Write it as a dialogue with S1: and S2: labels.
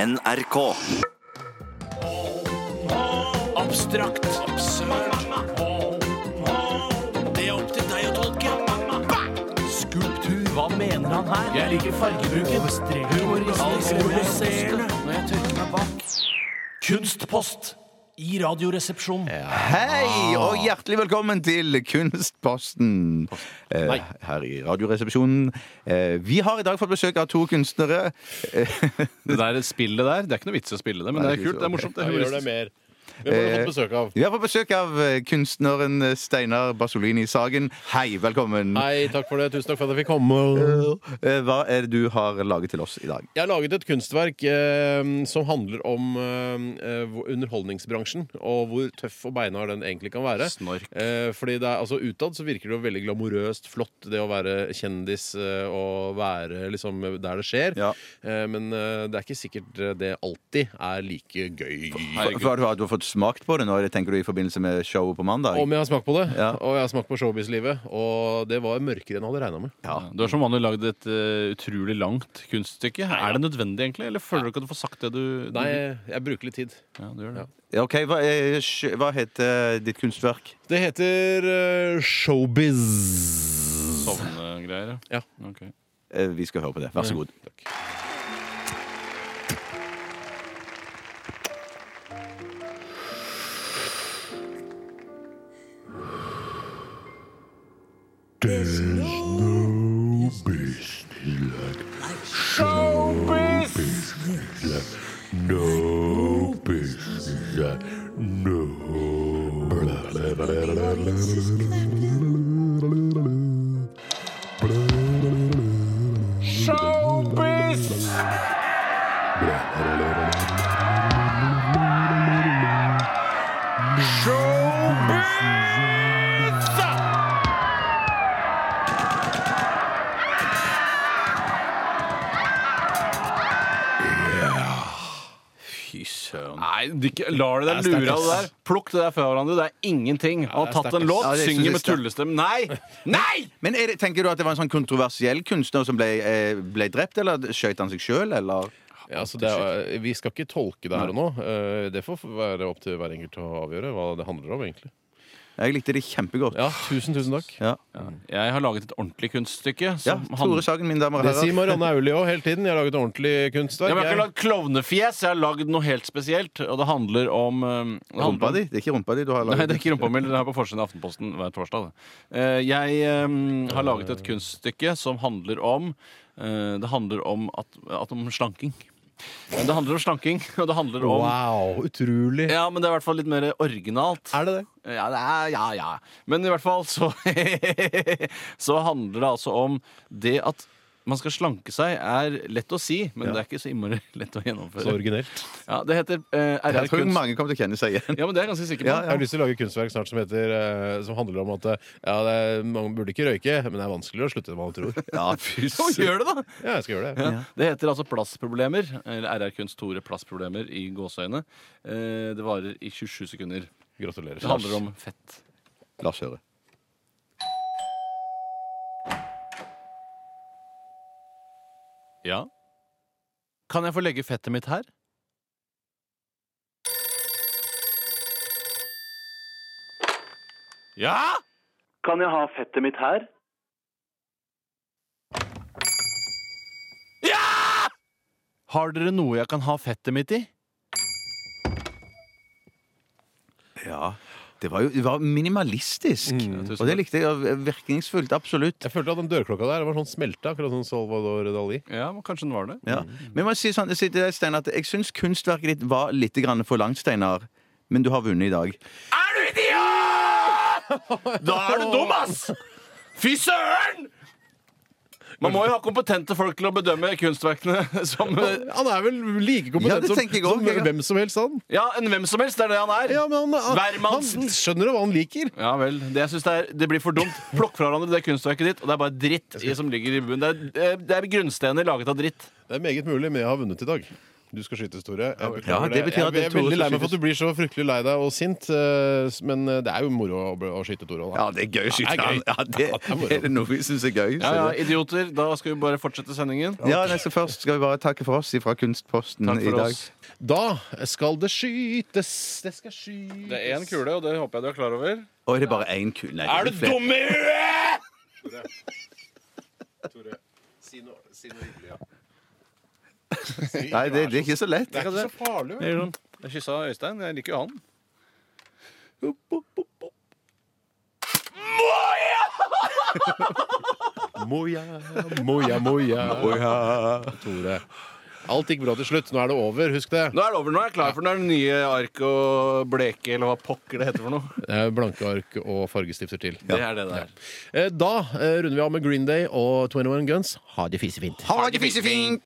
S1: NRK.
S2: Abstrakt. Absurd. Det er opp til deg å tolke. Skulptur. Hva mener han her? Jeg liker fargebruken. Humoriserende. Når jeg tørker meg bak. Kunstpost i Radioresepsjonen.
S3: Hei,
S4: Ah.
S3: og hjertelig velkommen til Kunstposten eh, her i Radioresepsjonen. Eh, vi har i dag fått besøk av to kunstnere.
S5: Det der spillet der, det er ikke noe vits i å spille det, men det er kult, det er morsomt. Det
S4: Ja,
S5: er
S4: gjør det
S5: humoristisk.
S4: mer. Hvem har du
S3: Eh,
S4: fått besøk av?
S3: Vi har fått besøk av eh, kunstneren eh, Steinar Basolini Sagen. Hei, velkommen.
S4: Hei, takk for det. Tusen takk for at jeg fikk komme.
S3: Eh, Hva er det du har laget til oss i dag?
S4: Jeg har laget et kunstverk eh, som handler om eh, hvor- underholdningsbransjen, og hvor tøff og beinhard den egentlig kan være.
S5: Snork.
S4: Eh, fordi det er, altså Utad så virker det jo veldig glamorøst, flott, det å være kjendis eh, og være liksom der det skjer.
S3: Ja.
S4: Eh, men eh, det er ikke sikkert det alltid er like gøy.
S3: For, for har du, har du fått smakt på det nå, eller tenker du i forbindelse med showet på mandag?
S4: Om jeg har smakt på det,
S3: Ja.
S4: og jeg har smakt på showbiz-livet, og det var mørkere enn jeg hadde regna med.
S5: Ja, du har som vanlig lagd et eh, utrolig langt kunststykke. Er det nødvendig, egentlig? Eller føler du ikke at du får sagt det du, du
S4: Nei, jeg bruker litt tid.
S5: Ja, du gjør det.
S3: Ja, Ok, hva, eh, sj- hva heter ditt kunstverk?
S4: Det heter eh, Showbiz.
S5: Sovnegreier,
S4: Ja.
S5: Ok.
S3: Eh, Vi skal høre på det. Vær så god.
S5: Fy søren. Nei, du ikke- lar du deg lure av det der? Plukk det der fra hverandre. Det er ingenting. Han har
S4: det er
S5: tatt en
S4: sterkt,
S3: ass.
S5: låt,
S3: Ja, det synes
S5: synger
S3: jeg
S5: med
S3: er sterkt.
S5: tullestemme. Nei! Nei!
S3: Men er det, tenker du at det var en sånn kontroversiell kunstner som ble, eh, ble drept, eller skjøt han seg sjøl, eller?
S4: Ja, altså det er, vi skal ikke tolke det her og nå. Eh, Det får være opp til hver enkelt å avgjøre hva det handler om, egentlig.
S3: Jeg likte det kjempegodt.
S4: Ja, tusen, tusen takk.
S3: Ja.
S5: Jeg har laget et ordentlig kunststykke.
S3: Ja,
S5: Som
S3: Tore Sagen, mine damer og
S4: Det
S3: herrer.
S4: sier Marianne Aulie òg hele tiden. Jeg har laget ordentlig kunstverk.
S5: Ja, men jeg har
S4: Jeg-
S5: ikke lagd klovnefjes, jeg har lagd noe helt spesielt. Og det handler om eh, det handler
S3: Rumpa
S5: om-
S3: di? Det er ikke rumpa di du har laget?
S5: Nei, det er ikke rumpa mi. Det er på forsiden av Aftenposten hver torsdag. det. Eh, Jeg eh, har laget et kunststykke som handler om eh, Det handler om, at, at om slanking. Det handler om slanking, og det handler om
S4: Wow, utrolig.
S5: Ja, men det er i hvert fall litt mer originalt.
S4: Er det det?
S5: Ja, det er, ja, ja. Men i hvert fall så Så handler det altså om det at man skal slanke seg, er lett å si, men det er ikke så innmari lett
S4: Så
S5: å gjennomføre.
S4: originelt.
S5: Ja, det heter eh,
S3: Jeg
S5: RR
S3: tror
S5: Kunst.
S3: mange kommer til å kjenne seg igjen.
S5: Ja, men det er jeg ganske sikker på.
S3: Ja,
S4: Jeg har lyst til å lage kunstverk snart som, heter, eh, som handler om at eh, ja, det er, man burde ikke røyke, men det er vanskeligere å slutte enn man tror.
S3: Ja, fy
S5: Så gjør det, da!
S4: Ja, jeg skal gjøre det.
S5: Ja. Det heter altså Plassproblemer, eller RR Kunst Tore Plassproblemer i gåseøyne. Eh, Det varer i 27 sekunder.
S4: Gratulerer.
S5: Det handler om fett.
S3: La oss høre.
S5: Ja? Kan jeg få legge fettet mitt her? Ja!
S6: Kan jeg ha fettet mitt her?
S5: Har dere noe jeg kan ha fettet mitt i?
S3: Ja. Det var jo det var minimalistisk.
S5: tusen
S3: og det likte jeg. og Virkningsfullt. Absolutt.
S4: Jeg følte at den dørklokka der var sånn smelta, akkurat som Salvador Dali.
S5: Ja, men kanskje den var det.
S3: Ja. Men jeg må si sånn, jeg sier til deg, Steinar, at jeg syns kunstverket ditt var litt grann for langt, Steinar. Men du har vunnet i dag.
S5: Er du idiot?! Da er du dum, ass! Fy søren! Man må jo ha kompetente folk til å bedømme kunstverkene som eh,
S4: Han er vel like
S3: Ja,
S4: kompetent
S3: det
S4: som,
S3: tenker jeg også,
S4: som
S3: jeg, ja.
S4: hvem som helst, han.
S5: Ja, enn hvem som helst. Det er det han er.
S4: Ja, men han, han
S5: Wermansen.
S4: skjønner jo hva han liker.
S5: Ja vel. Det, jeg synes det, er, det blir for dumt. Plukk fra hverandre det kunstverket ditt, og det er bare dritt i, som ligger i bunnen. Det er, det er grunnstener laget av dritt.
S4: Det er meget mulig, men jeg har vunnet i dag. Du skal skytes, Tore. Jeg beklager
S3: Ja, det betyr at
S4: Jeg, jeg er
S3: Tore
S4: veldig
S3: skal
S4: lei meg for at
S3: skytes.
S4: du blir så fryktelig lei deg og sint, eh, s- men eh, det er jo moro å, bli- å skyte Tore.
S3: Ja,
S4: Da.
S3: det er gøy å skyte
S4: Ja, det er
S3: han.
S4: gøy.
S3: Ja, det,
S4: Ja, det er moro.
S3: er det noe vi syns er gøy?
S5: Ja,
S3: så
S5: ja,
S3: det-
S5: idioter. Da skal vi bare fortsette sendingen.
S3: Ja, nei, så Først skal vi bare takke for oss fra Kunstposten
S5: Takk
S3: i
S5: for
S3: dag.
S5: oss.
S4: da skal det skytes! Det skal skytes
S5: Det er én kule, og det håper jeg du er klar over.
S3: Og er det bare én kul? Nei, det flere.
S5: i huet?!
S4: Si noe, si noe hyggelig, ja.
S3: Nei, det, det er ikke så lett.
S4: Det er ikke så farlig. vet du.
S5: Jeg kyssa Øystein. Jeg liker jo han.
S4: Moja, moja, moja. Tore. Alt gikk bra til slutt. Nå er det over, husk det.
S5: Nå er det over. Nå er jeg klar for den nye ark og bleke, eller hva pokker det heter for noe.
S4: Det er Blanke ark og fargestifter til.
S5: Det er det der.
S4: Eh, Da eh, runder vi av med Green Day og 21 Guns. Ha det fisefint.
S3: Ha det fisefint!